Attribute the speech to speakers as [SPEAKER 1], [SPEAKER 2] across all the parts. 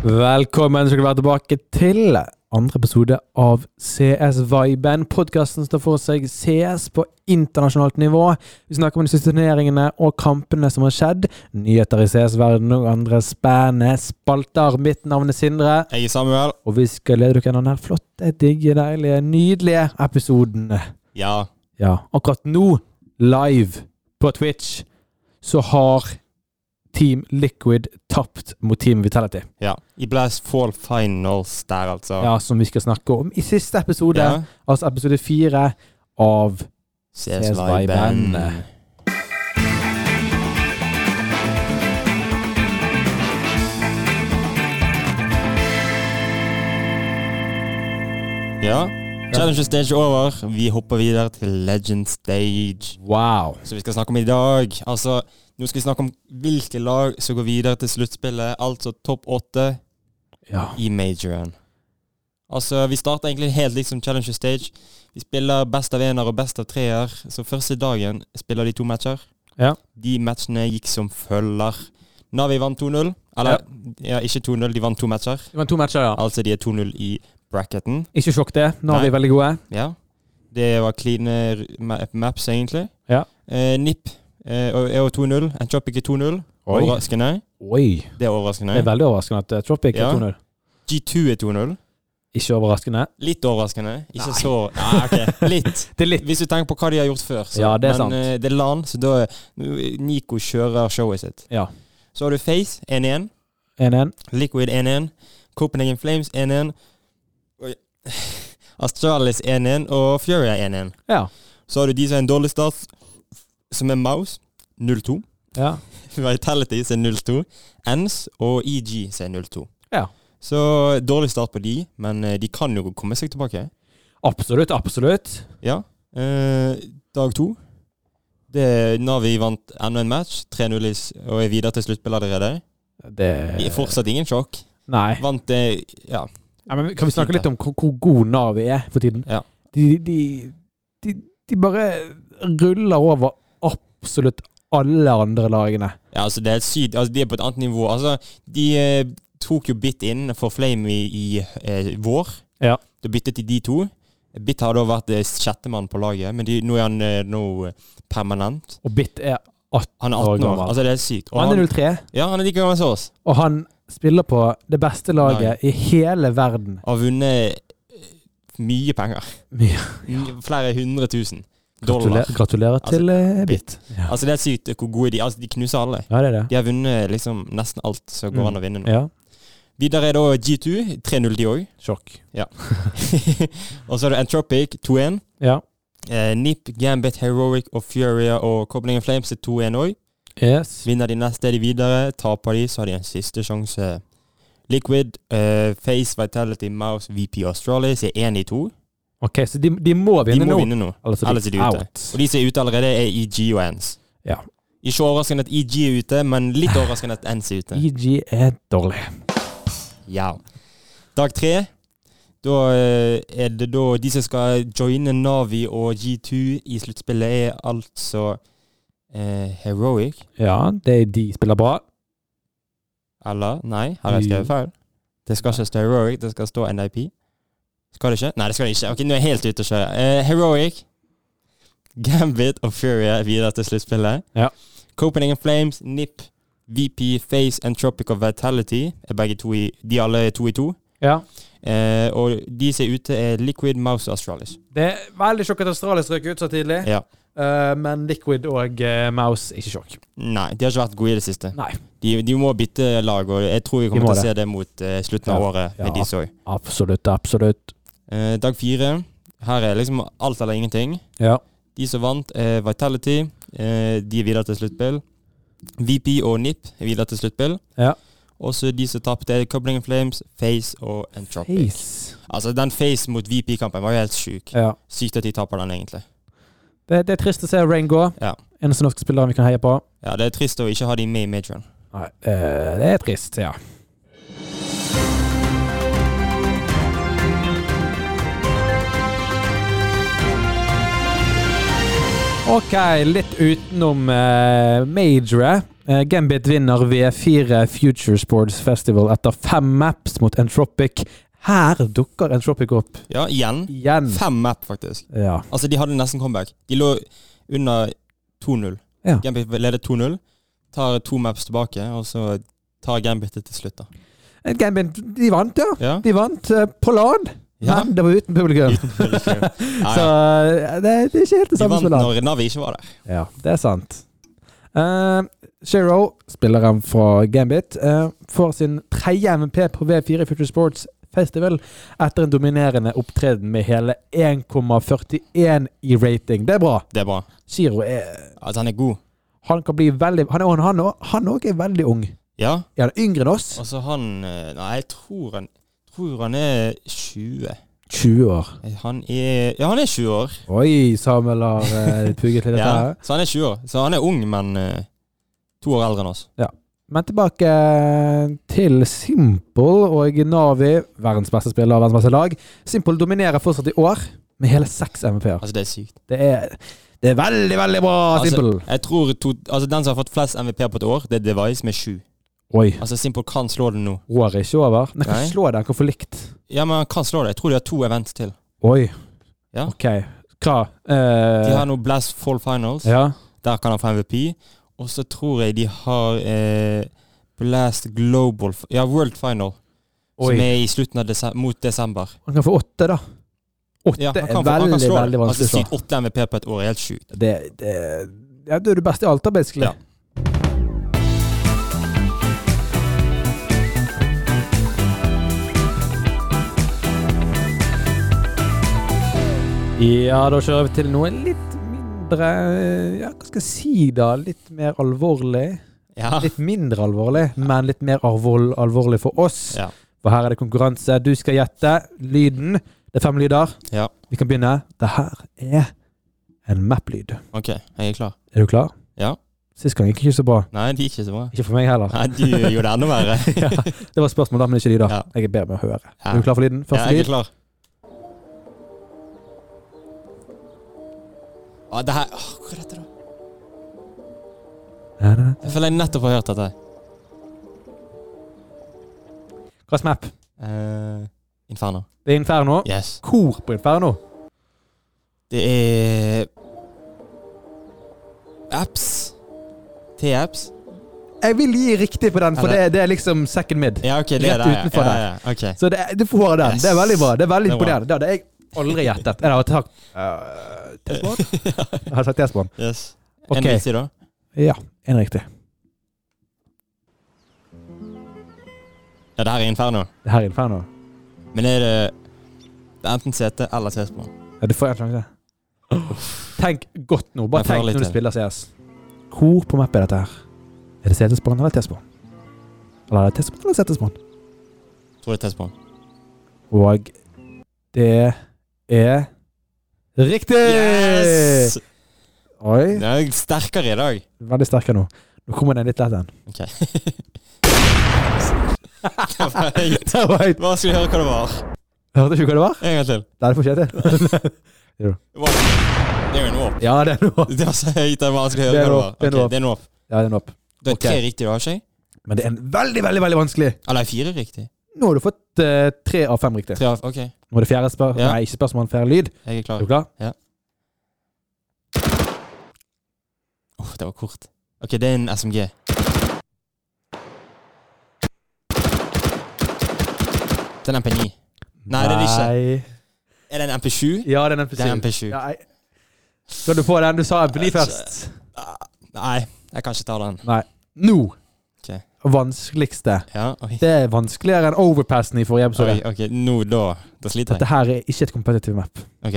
[SPEAKER 1] Velkommen skal du være tilbake til andre episode av CS Viben. Podkasten står for seg CS på internasjonalt nivå. Vi snakker om de siste turneringene og kampene som har skjedd. Nyheter i CS-verdenen og andre spennende spalter. Mitt navn er Sindre,
[SPEAKER 2] Jeg er Samuel.
[SPEAKER 1] og vi skal lede dere gjennom denne flotte, digge, deilige, nydelige episoden.
[SPEAKER 2] Ja.
[SPEAKER 1] Ja, akkurat nå, live på Twitch, så har Team Liquid tapt mot Team Vitality.
[SPEAKER 2] ja. I Blast Fall Finals der, altså.
[SPEAKER 1] ja, som vi skal snakke om i siste episode,
[SPEAKER 2] Ja.
[SPEAKER 1] altså episode fire av
[SPEAKER 2] Ses
[SPEAKER 1] Ses
[SPEAKER 2] live
[SPEAKER 1] live-band.
[SPEAKER 2] band. Ja. Challenge stage over. Vi hopper videre til Legend stage.
[SPEAKER 1] Wow.
[SPEAKER 2] som vi skal snakke om i dag. Altså, nå skal vi snakke om hvilke lag som går videre til sluttspillet, altså topp åtte
[SPEAKER 1] Ja.
[SPEAKER 2] i majoren. Altså, vi starter egentlig helt liksom Challenger Stage. Vi spiller best av ener og best av treer, så første dagen spiller de to matcher.
[SPEAKER 1] Ja.
[SPEAKER 2] De matchene gikk som følger. Navi vant 2-0. Eller, ja, ikke 2-0, de vant to matcher.
[SPEAKER 1] Det var to matcher, ja.
[SPEAKER 2] Altså, de er 2-0 i bracketen.
[SPEAKER 1] Ikke sjokk det. Nå er
[SPEAKER 2] Nei.
[SPEAKER 1] vi veldig gode.
[SPEAKER 2] Ja. Det var cleane r- ma- maps, egentlig.
[SPEAKER 1] Ja.
[SPEAKER 2] Eh, NIP eh, og- er jo 2-0. Entropic er 2-0.
[SPEAKER 1] Oi.
[SPEAKER 2] Overraskende.
[SPEAKER 1] Oi.
[SPEAKER 2] Det er
[SPEAKER 1] Det er
[SPEAKER 2] overraskende.
[SPEAKER 1] veldig overraskende at eh, Tropic
[SPEAKER 2] Ja.
[SPEAKER 1] er 2-0.
[SPEAKER 2] G2 er 2-0.
[SPEAKER 1] Ikke overraskende.
[SPEAKER 2] Litt overraskende. Ikke
[SPEAKER 1] Nei.
[SPEAKER 2] så Nei, ok. Litt.
[SPEAKER 1] Det er litt
[SPEAKER 2] Hvis du tenker på hva de har gjort før. Så.
[SPEAKER 1] Ja, det er
[SPEAKER 2] Men
[SPEAKER 1] sant.
[SPEAKER 2] eh, det er LAN, så da er- Nico kjører showet sitt.
[SPEAKER 1] Ja.
[SPEAKER 2] Så har du Face 1-1.
[SPEAKER 1] 1-1.
[SPEAKER 2] Liquid 1-1. Copenhagen Flames 1-1. Oi. Astralis 1-1 og Furia 1-1.
[SPEAKER 1] Ja.
[SPEAKER 2] Så har du de som er en dårlig start, som er Mouse 0-2.
[SPEAKER 1] ja.
[SPEAKER 2] Vitality som er 0-2. Ends og EG som er 0-2.
[SPEAKER 1] Ja.
[SPEAKER 2] Så dårlig start på de, men eh, de kan jo komme seg tilbake.
[SPEAKER 1] Absolutt, absolutt.
[SPEAKER 2] Ja. Eh, dag to. Det, Navi vant enda en match. 3-0 i s- og er videre til sluttspill allerede.
[SPEAKER 1] Det
[SPEAKER 2] I- Fortsatt ingen sjokk.
[SPEAKER 1] Nei.
[SPEAKER 2] Vant det Ja.
[SPEAKER 1] Ja, men kan vi snakke litt om hvor, hvor god Navi er for tiden?
[SPEAKER 2] Ja.
[SPEAKER 1] De, de, de, de bare ruller over absolutt alle andre lagene.
[SPEAKER 2] Ja, altså det er et syd, altså De er på et annet nivå. Altså, De eh, tok jo Bit inn for Flame i, i eh, vår.
[SPEAKER 1] Ja.
[SPEAKER 2] Da byttet de de to. Bit har da vært eh, sjettemann på laget, men de, nå er han eh, nå permanent.
[SPEAKER 1] Og Bit er
[SPEAKER 2] Han er
[SPEAKER 1] År
[SPEAKER 2] 18 år.
[SPEAKER 1] gammel.
[SPEAKER 2] Altså Det er sykt. Og
[SPEAKER 1] Han er
[SPEAKER 2] han,
[SPEAKER 1] 0-3.
[SPEAKER 2] ja, han er like gammel som oss.
[SPEAKER 1] Og han spiller på det beste laget i hele verden.
[SPEAKER 2] Og har vunnet eh, mye penger.
[SPEAKER 1] Mye,
[SPEAKER 2] Flere hundre tusen dollar.
[SPEAKER 1] Gratulerer, gratulerer til eh, Bit. Ja.
[SPEAKER 2] Altså Det er sykt hvor gode de er. Altså, de knuser alle.
[SPEAKER 1] ja, det er det.
[SPEAKER 2] De har vunnet liksom nesten alt som går
[SPEAKER 1] Mm.
[SPEAKER 2] an å vinne nå.
[SPEAKER 1] Ja.
[SPEAKER 2] Videre er da G2. 3-0 de òg.
[SPEAKER 1] Sjokk.
[SPEAKER 2] og så er det Entropic 2-1.
[SPEAKER 1] Ja.
[SPEAKER 2] Eh, Nip, Gambit, Heroic og Furia og Copenhagen Flames er 2-1 òg.
[SPEAKER 1] Yes.
[SPEAKER 2] Vinner de neste er de videre. Taper de, så har de en siste sjanse. Liquid, eh, Face, Vitality, Mouse, VP og Astralis er 1 i 2.
[SPEAKER 1] Ok, så de, de må
[SPEAKER 2] De
[SPEAKER 1] vinne
[SPEAKER 2] må
[SPEAKER 1] nå.
[SPEAKER 2] vinne nå.
[SPEAKER 1] Ellers
[SPEAKER 2] Ellers er de ute.
[SPEAKER 1] out.
[SPEAKER 2] Og de som er ute allerede, er EG og Ends.
[SPEAKER 1] Ja.
[SPEAKER 2] Ikke overraskende at EG er ute, men litt overraskende at Ends er ute.
[SPEAKER 1] EG er dårlig.
[SPEAKER 2] Ja. Dag tre. Da eh, er det da de som skal joine Navi og G2 i sluttspillet, er altså eh, Heroic.
[SPEAKER 1] Ja, det er de spiller bra.
[SPEAKER 2] Eller? Nei, har jeg skrevet feil? Det skal ikke stå Heroic, det skal stå NIP. Skal det ikke? Nei, det skal det ikke. Ok, nå er jeg helt ute å kjøre. Eh, Heroic, Gambit og Furia er videre til sluttspillet.
[SPEAKER 1] Ja.
[SPEAKER 2] Copenhagen Flames, NIP, VP, Face, Entropic og Vitality er begge to i De alle er to i to.
[SPEAKER 1] Ja.
[SPEAKER 2] Eh, og de som er ute, er Liquid, Mouse og Astralis.
[SPEAKER 1] Det er veldig sjokk at Australia strøk ut så tidlig.
[SPEAKER 2] Ja.
[SPEAKER 1] Eh, men Liquid og eh, Mouse, ikke sjokk.
[SPEAKER 2] Nei, de har ikke vært gode i det siste.
[SPEAKER 1] Nei.
[SPEAKER 2] De, de må bytte lag, og jeg tror vi
[SPEAKER 1] De må
[SPEAKER 2] kommer til å
[SPEAKER 1] det.
[SPEAKER 2] se det mot eh, slutten av
[SPEAKER 1] Ja.
[SPEAKER 2] året med
[SPEAKER 1] Ja.
[SPEAKER 2] de så.
[SPEAKER 1] Absolutt, absolutt.
[SPEAKER 2] Eh, dag fire. Her er liksom alt eller ingenting.
[SPEAKER 1] Ja.
[SPEAKER 2] De som vant, er Vitality. Eh, de er videre til sluttspill. VP og NIP er videre til sluttspill.
[SPEAKER 1] Ja.
[SPEAKER 2] Også de som tapte, er Coupling Flames, Face og Entropic.
[SPEAKER 1] Ace.
[SPEAKER 2] Altså, den Face mot VP-kampen var jo helt sjuk.
[SPEAKER 1] Ja.
[SPEAKER 2] Sykt at de taper den, egentlig.
[SPEAKER 1] Det, det er trist å se Rain gå.
[SPEAKER 2] Ja.
[SPEAKER 1] Eneste norske spilleren vi kan heie på.
[SPEAKER 2] Ja, Det er trist å ikke ha de med i majoren.
[SPEAKER 1] Nei, eh, det er trist, ja. Ok, litt utenom eh, majore. Eh, Eh, Gambit vinner V4 Future Sports Festival etter fem maps mot Entropic. Her dukker Entropic opp
[SPEAKER 2] Ja, igjen.
[SPEAKER 1] igjen.
[SPEAKER 2] Fem map, faktisk.
[SPEAKER 1] Ja.
[SPEAKER 2] Altså, de hadde nesten comeback. De lå under 2-0.
[SPEAKER 1] Ja.
[SPEAKER 2] Gambit leder 2-0, tar to maps tilbake, og så tar Gambit det til slutt, da.
[SPEAKER 1] Eh, Gambit, de vant, ja.
[SPEAKER 2] Ja.
[SPEAKER 1] De vant eh, på LAN,
[SPEAKER 2] ja.
[SPEAKER 1] men det var uten publikum.
[SPEAKER 2] Uten publikum. Ja,
[SPEAKER 1] Så
[SPEAKER 2] ja.
[SPEAKER 1] eh, det, det er ikke helt det
[SPEAKER 2] De
[SPEAKER 1] samme
[SPEAKER 2] vant
[SPEAKER 1] som LAN.
[SPEAKER 2] når Navi ikke var der.
[SPEAKER 1] Ja, det er sant. Uh, Shiro, spilleren fra Gambit, eh, får sin tredje MVP på V4 Future Sports Festival etter en dominerende opptreden med hele 1,41 i rating. Det er bra.
[SPEAKER 2] Det er bra.
[SPEAKER 1] Shiro er
[SPEAKER 2] Altså, han er god.
[SPEAKER 1] han kan bli veldig Han òg han, er- han også er veldig ung.
[SPEAKER 2] Ja.
[SPEAKER 1] Er han yngre enn oss?
[SPEAKER 2] Altså, han eh, Nei, jeg tror han Tror han er 20.
[SPEAKER 1] 20 år.
[SPEAKER 2] Han er Ja, han er 20 år.
[SPEAKER 1] Oi, Samuel har eh, pugget litt dette her.
[SPEAKER 2] Ja, så han er 20 år. Så han er ung, men eh, to år eldre enn oss.
[SPEAKER 1] Men tilbake til Simple og Navi, verdens beste spiller og verdens beste lag. Simple dominerer fortsatt i år med hele seks MVP-er.
[SPEAKER 2] Altså, det er sykt.
[SPEAKER 1] Det er, det er veldig, veldig bra,
[SPEAKER 2] Altså-
[SPEAKER 1] Simple!
[SPEAKER 2] Jeg tror to, altså, Den som har fått flest MVP på et år, det er Device med sju.
[SPEAKER 1] Oi,
[SPEAKER 2] Altså, Simple kan slå det nå.
[SPEAKER 1] året er ikke over. Nei, kan
[SPEAKER 2] Nei.
[SPEAKER 1] ikke slå det, han kan få likt.
[SPEAKER 2] Ja, men han kan slå det. Jeg tror de har to events til.
[SPEAKER 1] Oi.
[SPEAKER 2] Ja.
[SPEAKER 1] Ok, hva?
[SPEAKER 2] De
[SPEAKER 1] Eh,
[SPEAKER 2] har nå Blast Fall Finals.
[SPEAKER 1] ja.
[SPEAKER 2] Der kan han få MVP. Og så tror jeg de har eh, Blast Global F- Ja, World Final.
[SPEAKER 1] Oi.
[SPEAKER 2] Som er i slutten av desember, mot desember.
[SPEAKER 1] Han kan få åtte, da. Åtte
[SPEAKER 2] Ja, han
[SPEAKER 1] er
[SPEAKER 2] kan få- han kan
[SPEAKER 1] veldig,
[SPEAKER 2] slå det.
[SPEAKER 1] veldig vanskelig
[SPEAKER 2] Altså,
[SPEAKER 1] å slå.
[SPEAKER 2] sykt åtte MVP på et år er helt sjukt.
[SPEAKER 1] Det, det, ja, du er det beste i Alta, basically.
[SPEAKER 2] Ja.
[SPEAKER 1] Ja, da kjører vi til noe litt mindre Ja, hva skal jeg si da? Litt mer alvorlig.
[SPEAKER 2] Ja.
[SPEAKER 1] Litt mindre alvorlig, men litt mer alvor, alvorlig for oss.
[SPEAKER 2] Ja.
[SPEAKER 1] For her er det konkurranse. Du skal gjette lyden. Det er fem lyder.
[SPEAKER 2] Ja.
[SPEAKER 1] Vi kan begynne. Det her er en map-lyd.
[SPEAKER 2] OK, jeg er klar.
[SPEAKER 1] Er du klar?
[SPEAKER 2] Ja.
[SPEAKER 1] Sist gang gikk det ikke så bra.
[SPEAKER 2] Nei, det gikk ikke så bra.
[SPEAKER 1] Ikke for meg heller.
[SPEAKER 2] Nei, du gjorde det enda verre.
[SPEAKER 1] Ja, det var spørsmål da, men ikke lyder.
[SPEAKER 2] Ja.
[SPEAKER 1] Jeg er bedre med å høre.
[SPEAKER 2] Ja.
[SPEAKER 1] Er du klar for lyden?
[SPEAKER 2] Ja,
[SPEAKER 1] Første
[SPEAKER 2] jeg er
[SPEAKER 1] lyd.
[SPEAKER 2] klar. Ah, det her Åh, Hva er dette, da?
[SPEAKER 1] Nei, nei, nei.
[SPEAKER 2] Jeg føler jeg nettopp har hørt dette.
[SPEAKER 1] Hvilken map?
[SPEAKER 2] Eh, Inferno.
[SPEAKER 1] Det er Inferno.
[SPEAKER 2] Yes.
[SPEAKER 1] Kor på Inferno.
[SPEAKER 2] Det er Apps. T-apps.
[SPEAKER 1] Jeg vil gi riktig på den, for
[SPEAKER 2] Ja,
[SPEAKER 1] det, det er liksom second mid.
[SPEAKER 2] Ja, ok, det
[SPEAKER 1] Rett
[SPEAKER 2] er det. ja.
[SPEAKER 1] utenfor
[SPEAKER 2] ja,
[SPEAKER 1] der.
[SPEAKER 2] ja, ja. Ok.
[SPEAKER 1] Så det, du får den.
[SPEAKER 2] Yes.
[SPEAKER 1] Det er veldig bra. Det er veldig
[SPEAKER 2] Det er bra.
[SPEAKER 1] imponerende. Det hadde jeg aldri gjettet. Eller hadde sagt uh, T-spawn? Jeg hadde sagt T-spawn.
[SPEAKER 2] Yes.
[SPEAKER 1] Ok.
[SPEAKER 2] En riktig, da?
[SPEAKER 1] Ja, en riktig.
[SPEAKER 2] Ja, det her er Inferno.
[SPEAKER 1] Det her er Inferno.
[SPEAKER 2] Men er det Det er enten CT eller T-spor.
[SPEAKER 1] Ja, du får en sjanse. Tenk godt nå. Bare
[SPEAKER 2] Jeg får
[SPEAKER 1] tenk
[SPEAKER 2] litt
[SPEAKER 1] når du
[SPEAKER 2] til.
[SPEAKER 1] spiller CS. Hvor på map er dette her? Er det CT-spawn eller T-spawn? Eller er det T-spawn eller CT-spawn?
[SPEAKER 2] Tror det er T-spor.
[SPEAKER 1] Og det er riktig!
[SPEAKER 2] Yes!
[SPEAKER 1] Oi.
[SPEAKER 2] Det er sterkere i dag.
[SPEAKER 1] Veldig sterkere nå. Nå kommer den litt lett en.
[SPEAKER 2] Ok. Det var høyt.
[SPEAKER 1] Det var høyt.
[SPEAKER 2] Bare skulle høre hva det var.
[SPEAKER 1] Hørte ikke hva det var?
[SPEAKER 2] En gang til.
[SPEAKER 1] Nei, det får ikke jeg til.
[SPEAKER 2] Wow. Det er jo en åp.
[SPEAKER 1] Ja, det er nå.
[SPEAKER 2] Det var så høyt. Jeg bare skulle
[SPEAKER 1] Det er
[SPEAKER 2] høre hva
[SPEAKER 1] en
[SPEAKER 2] det
[SPEAKER 1] åp,
[SPEAKER 2] var.
[SPEAKER 1] det er en åp.
[SPEAKER 2] Ok, det er en åp.
[SPEAKER 1] Ja, det er en opp.
[SPEAKER 2] Du har
[SPEAKER 1] Ok.
[SPEAKER 2] tre riktige, du har ikke? jeg?
[SPEAKER 1] Men det er en veldig, veldig veldig vanskelig.
[SPEAKER 2] Eller fire riktige?
[SPEAKER 1] Nå har du fått eh, tre av fem riktig.
[SPEAKER 2] Tre av Ok, jeg
[SPEAKER 1] Nå er det fjerde spørsmål.
[SPEAKER 2] Ja.
[SPEAKER 1] Nei, ikke spørsmål, men fjerde lyd.
[SPEAKER 2] er klar.
[SPEAKER 1] Er du klar?
[SPEAKER 2] Uff, det var kort. Ok, det er en SMG. Det er en MP9. Nei, det er det ikke.
[SPEAKER 1] ikke.
[SPEAKER 2] Er det en MP7?
[SPEAKER 1] Ja, det er en MP7.
[SPEAKER 2] Det er en MP7.
[SPEAKER 1] Ja, jeg- Skal du få den? Du sa MP9 først.
[SPEAKER 2] Ah, Nei, jeg kan ikke ta den.
[SPEAKER 1] Nå.
[SPEAKER 2] Ok.
[SPEAKER 1] Vanskeligste.
[SPEAKER 2] Ja, oi.
[SPEAKER 1] Det er vanskeligere enn overpassen i forrige episode.
[SPEAKER 2] Oi, ok, nå da. Da sliter jeg.
[SPEAKER 1] Dette her er ikke et competitive map.
[SPEAKER 2] Ok.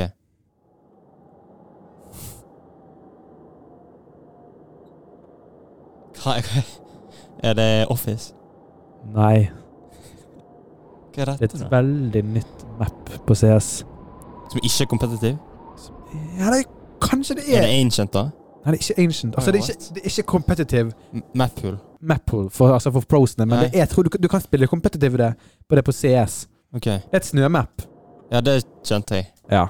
[SPEAKER 2] Hva er det Office?
[SPEAKER 1] Nei,
[SPEAKER 2] Hva er
[SPEAKER 1] det er et
[SPEAKER 2] dette da?
[SPEAKER 1] veldig nytt map på CS.
[SPEAKER 2] Som ikke er kompetitiv?
[SPEAKER 1] Ja, det er, kanskje det
[SPEAKER 2] Er
[SPEAKER 1] er
[SPEAKER 2] det Ancient da?
[SPEAKER 1] Nei, det er ikke ancient. Altså, det er ikke, det er ikke competitive
[SPEAKER 2] M- Mappool?
[SPEAKER 1] map pool for, altså for prosene, men
[SPEAKER 2] Nei.
[SPEAKER 1] det er, jeg tror du, kan- du kan spille competitive det, på det på CS.
[SPEAKER 2] Ok.
[SPEAKER 1] Det er et snømap.
[SPEAKER 2] Ja, det skjønte jeg.
[SPEAKER 1] Ja.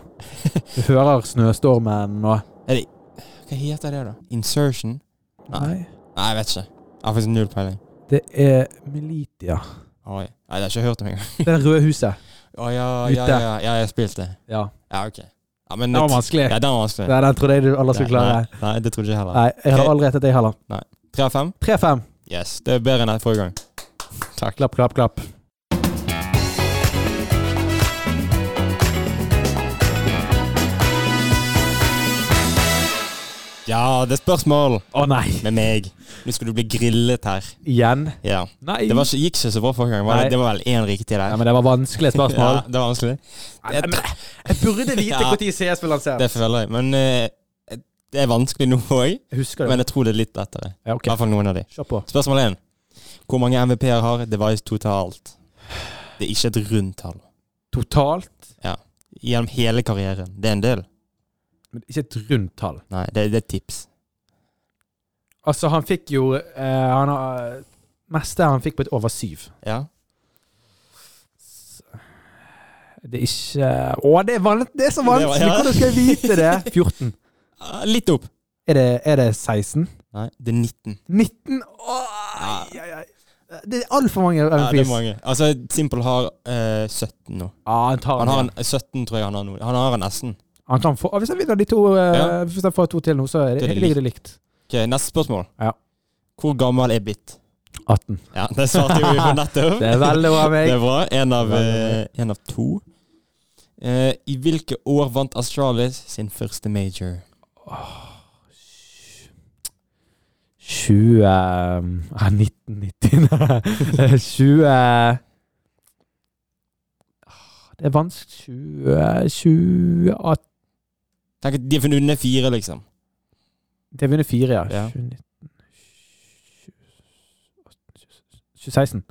[SPEAKER 1] Du hører snøstormen og
[SPEAKER 2] Hva heter det, da? Insertion? Nei.
[SPEAKER 1] Nei.
[SPEAKER 2] Nei, jeg vet ikke. Jeg har faktisk null peiling.
[SPEAKER 1] Det er Militia.
[SPEAKER 2] Oi. Nei, det har jeg ikke hørt om engang.
[SPEAKER 1] Det er det røde huset.
[SPEAKER 2] Å ja, ja,
[SPEAKER 1] Ute.
[SPEAKER 2] ja, ja, jeg har spilt det.
[SPEAKER 1] Ja.
[SPEAKER 2] Ja, ok. Ja, men
[SPEAKER 1] Det var vanskelig.
[SPEAKER 2] Ja, den var vanskelig.
[SPEAKER 1] Nei, den trodde jeg du alle skulle klare.
[SPEAKER 2] Nei, nei, det trodde jeg heller.
[SPEAKER 1] Nei, jeg hadde aldri rettet det heller.
[SPEAKER 2] Tre av fem?
[SPEAKER 1] 3-5.
[SPEAKER 2] Yes. Det er bedre enn jeg forrige gang. Takk.
[SPEAKER 1] Klapp, klapp, klapp.
[SPEAKER 2] Ja, det er spørsmål
[SPEAKER 1] Å nei!
[SPEAKER 2] med meg. Nå skal du bli grillet her.
[SPEAKER 1] Igjen.
[SPEAKER 2] Ja.
[SPEAKER 1] Nei!
[SPEAKER 2] Det var ikke, gikk ikke så bra forrige gang. Var
[SPEAKER 1] Nei.
[SPEAKER 2] det, det var vel én riktig
[SPEAKER 1] Nei,
[SPEAKER 2] der.
[SPEAKER 1] men det var vanskelige spørsmål.
[SPEAKER 2] Ja, det var vanskelig.
[SPEAKER 1] Nei, men jeg burde vite
[SPEAKER 2] Ja.
[SPEAKER 1] når CS vil lansere.
[SPEAKER 2] Det føler jeg. Men eh, det er vanskelig nå òg.
[SPEAKER 1] Jeg husker det.
[SPEAKER 2] Men jeg tror det er litt lettere.
[SPEAKER 1] Ja,
[SPEAKER 2] I
[SPEAKER 1] ok.
[SPEAKER 2] hvert fall noen av de.
[SPEAKER 1] Kjør på.
[SPEAKER 2] Spørsmål én. Hvor mange MVP-er har Device totalt? Det er ikke et rundt tall.
[SPEAKER 1] Totalt
[SPEAKER 2] Gjennom hele karrieren. Det er en del.
[SPEAKER 1] men Ikke et rundt tall.
[SPEAKER 2] Nei, det, det er et tips.
[SPEAKER 1] Altså, han fikk jo eh, han har, Meste han fikk på et over syv.
[SPEAKER 2] Ja.
[SPEAKER 1] Det er ikke Å, det er, vanlig, det er så
[SPEAKER 2] var-
[SPEAKER 1] vanskelig!
[SPEAKER 2] ja.
[SPEAKER 1] Hvordan skal jeg vite det? 14.
[SPEAKER 2] Ah, Litt opp.
[SPEAKER 1] Er det, er det 16?
[SPEAKER 2] Nei, det er 19.
[SPEAKER 1] 19? Å, ai, ai, ai. Det er altfor mange
[SPEAKER 2] Ja, det er
[SPEAKER 1] MVPs.
[SPEAKER 2] mange. Altså, Simple har eh, 17 nå.
[SPEAKER 1] Ja, han tar
[SPEAKER 2] Han har
[SPEAKER 1] den.
[SPEAKER 2] en 17, tror jeg han har nå. Han har en nesten.
[SPEAKER 1] Han kan få, ah, hvis han vinner de to, eh,
[SPEAKER 2] Ja.
[SPEAKER 1] hvis han får to til nå, så er det,
[SPEAKER 2] Det er det
[SPEAKER 1] ligger det likt.
[SPEAKER 2] Ok, Neste spørsmål.
[SPEAKER 1] Ja.
[SPEAKER 2] Hvor gammel er Bit?
[SPEAKER 1] 18.
[SPEAKER 2] Ja, det svarte jo vi på nettopp.
[SPEAKER 1] Det er veldig bra, meg.
[SPEAKER 2] Det er bra. En av,
[SPEAKER 1] Veldig bra.
[SPEAKER 2] eh, en av to. Eh, I hvilke år vant Astralis sin første major?
[SPEAKER 1] 20 eh, Ja, 1990 20 Ah, Det er vanskelig eh, 20 20
[SPEAKER 2] Tenk at De har funnet under fire, liksom.
[SPEAKER 1] Det vinner 4, ja.
[SPEAKER 2] Ja.
[SPEAKER 1] 2019 2016.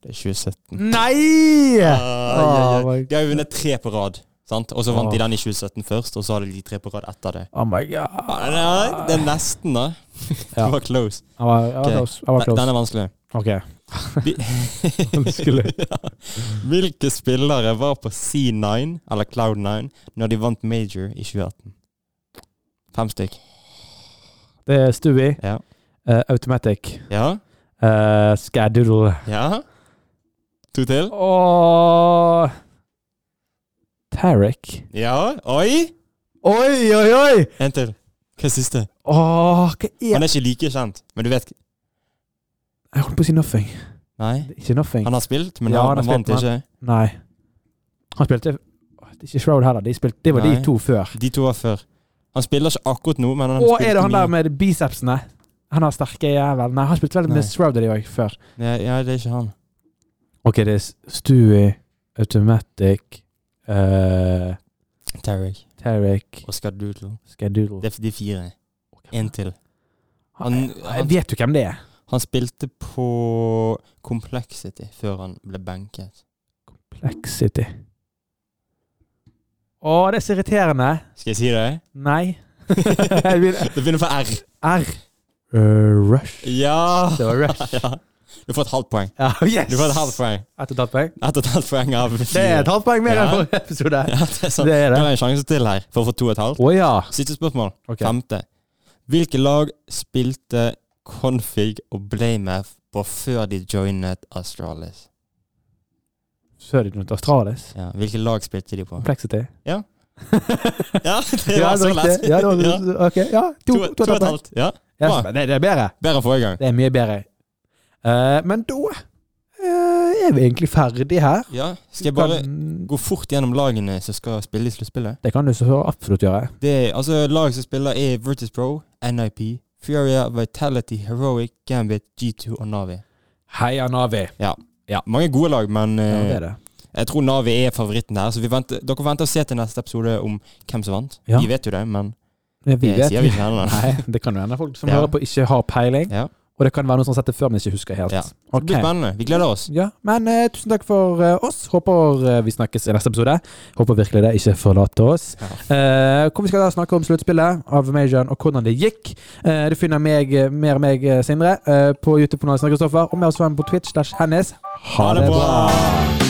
[SPEAKER 2] Det er 2017.
[SPEAKER 1] Nei!
[SPEAKER 2] Ah, ja, ja.
[SPEAKER 1] Oh my
[SPEAKER 2] De har jo vunnet tre på rad, sant? og så
[SPEAKER 1] Ah.
[SPEAKER 2] vant de den i 2017 først, og så hadde de tre på rad etter det.
[SPEAKER 1] Oh my
[SPEAKER 2] Ah, Nei,
[SPEAKER 1] god.
[SPEAKER 2] det er nesten, da. Det
[SPEAKER 1] Ja.
[SPEAKER 2] var close.
[SPEAKER 1] Han var, han var
[SPEAKER 2] Ok.
[SPEAKER 1] close. Han var
[SPEAKER 2] Den-
[SPEAKER 1] close.
[SPEAKER 2] Den er vanskelig.
[SPEAKER 1] Ok.
[SPEAKER 2] Vi-
[SPEAKER 1] Vanskelig.
[SPEAKER 2] ja. Hvilke spillere var på C9, eller Cloud9, når de vant Major i 2018? Fem stykk.
[SPEAKER 1] Det er Stewie.
[SPEAKER 2] Ja.
[SPEAKER 1] eh, Automatic.
[SPEAKER 2] Ja?
[SPEAKER 1] Uh, Scadoodle.
[SPEAKER 2] Ja? To til?
[SPEAKER 1] Og Tarek.
[SPEAKER 2] Ja? Oi!
[SPEAKER 1] Oi, oi, oi!
[SPEAKER 2] En til. Hva er siste?
[SPEAKER 1] Åh, hva er
[SPEAKER 2] Han er ikke like kjent, men du vet
[SPEAKER 1] Jeg holdt på å si nothing.
[SPEAKER 2] Nei?
[SPEAKER 1] Det er Ikke nothing.
[SPEAKER 2] Han har spilt, men
[SPEAKER 1] Ja, han
[SPEAKER 2] han,
[SPEAKER 1] har
[SPEAKER 2] han vant
[SPEAKER 1] spilt,
[SPEAKER 2] ikke.
[SPEAKER 1] Nei. Han spilte Åh, Det er ikke Shroud heller. De spilte, det var
[SPEAKER 2] Nei.
[SPEAKER 1] de to før.
[SPEAKER 2] De to var før. Han spiller ikke akkurat nå, men han
[SPEAKER 1] Og er det han der med bicepsene? Han har sterke jævel. Nei, han spilte vel
[SPEAKER 2] Nei.
[SPEAKER 1] med Shroud og de òg før.
[SPEAKER 2] Ja, ja, det er ikke han.
[SPEAKER 1] Ok, det er Stewie, Automatic, eh,
[SPEAKER 2] Tarek.
[SPEAKER 1] Tarek,
[SPEAKER 2] Oscar Doodle.
[SPEAKER 1] Skadoodle
[SPEAKER 2] Det er de fire. En til.
[SPEAKER 1] Han,
[SPEAKER 2] han-
[SPEAKER 1] han, vet du hvem det er?
[SPEAKER 2] Han spilte på Complexity før han ble benket.
[SPEAKER 1] Plexity. Å, det er så irriterende.
[SPEAKER 2] Skal jeg si det?
[SPEAKER 1] Nei. Jeg vil-
[SPEAKER 2] det begynner på R.
[SPEAKER 1] R. Uh, rush.
[SPEAKER 2] Ja!
[SPEAKER 1] Det var Rush.
[SPEAKER 2] ja. Du får et halvt poeng.
[SPEAKER 1] Ja, yes!
[SPEAKER 2] Du får et halvt
[SPEAKER 1] Ett
[SPEAKER 2] poeng.
[SPEAKER 1] og et halvt poeng.
[SPEAKER 2] Ett og et halvt poeng av fire.
[SPEAKER 1] Det er et halvt poeng mer
[SPEAKER 2] Ja.
[SPEAKER 1] enn forrige episode.
[SPEAKER 2] Ja, det er sant.
[SPEAKER 1] Det er
[SPEAKER 2] Du
[SPEAKER 1] det.
[SPEAKER 2] har en sjanse til her for å få to og et halvt.
[SPEAKER 1] Å ja.
[SPEAKER 2] Siste spørsmål.
[SPEAKER 1] Ok.
[SPEAKER 2] Femte. Hvilke lag spilte Config og Blamef på før de joinet Astralis?
[SPEAKER 1] Før de begynte Astralis.
[SPEAKER 2] Ja, hvilke lag spilte de på?
[SPEAKER 1] Complexity.
[SPEAKER 2] Ja. Ja, det
[SPEAKER 1] Ja,
[SPEAKER 2] var så
[SPEAKER 1] riktig.
[SPEAKER 2] lett.
[SPEAKER 1] Ja, det var,
[SPEAKER 2] Ja.
[SPEAKER 1] ok, ja. To,
[SPEAKER 2] To,
[SPEAKER 1] to,
[SPEAKER 2] to og et halvt. Ja,
[SPEAKER 1] Ja,
[SPEAKER 2] Bra.
[SPEAKER 1] men det, det er bedre.
[SPEAKER 2] Bedre enn forrige gang.
[SPEAKER 1] Det er mye bedre. Eh, men da eh, er vi egentlig ferdig her.
[SPEAKER 2] Ja, Skal jeg bare
[SPEAKER 1] Kan-
[SPEAKER 2] gå fort gjennom lagene som skal spille i sluttspillet?
[SPEAKER 1] Det kan du så absolutt gjøre.
[SPEAKER 2] Det er altså lag som spiller er Virtus Pro, NIP, Furia, Vitality, Heroic, Gambit, G2 og Navi.
[SPEAKER 1] Heia Navi.
[SPEAKER 2] Mange gode lag, men
[SPEAKER 1] Ja,
[SPEAKER 2] eh,
[SPEAKER 1] det er det.
[SPEAKER 2] jeg tror Navi er favoritten her. Så vi venter, dere venter å se til neste episode om hvem som vant.
[SPEAKER 1] Ja.
[SPEAKER 2] Vi vet jo det, men
[SPEAKER 1] Men Vi
[SPEAKER 2] det
[SPEAKER 1] vet
[SPEAKER 2] sier vi ikke ennå.
[SPEAKER 1] Nei, det kan jo hende folk som
[SPEAKER 2] Ja.
[SPEAKER 1] hører på, ikke har peiling.
[SPEAKER 2] Ja.
[SPEAKER 1] Og det kan være noe som har sett det før, men ikke husker helt.
[SPEAKER 2] Ja. Det
[SPEAKER 1] Ok.
[SPEAKER 2] blir spennende. Vi gleder oss.
[SPEAKER 1] Ja, men eh, tusen takk for eh, oss. Håper eh, vi snakkes i neste episode. Håper virkelig det ikke forlater oss.
[SPEAKER 2] Ja.
[SPEAKER 1] Eh, hvor vi skal da snakke om sluttspillet av Majoren og hvordan det gikk. Eh, du finner meg, eh, mer meg, eh, Sindre, eh, på YouTube-kanalen Snakk Kristoffer, og med oss på Twitch slash Hennes.
[SPEAKER 2] Ha det bra!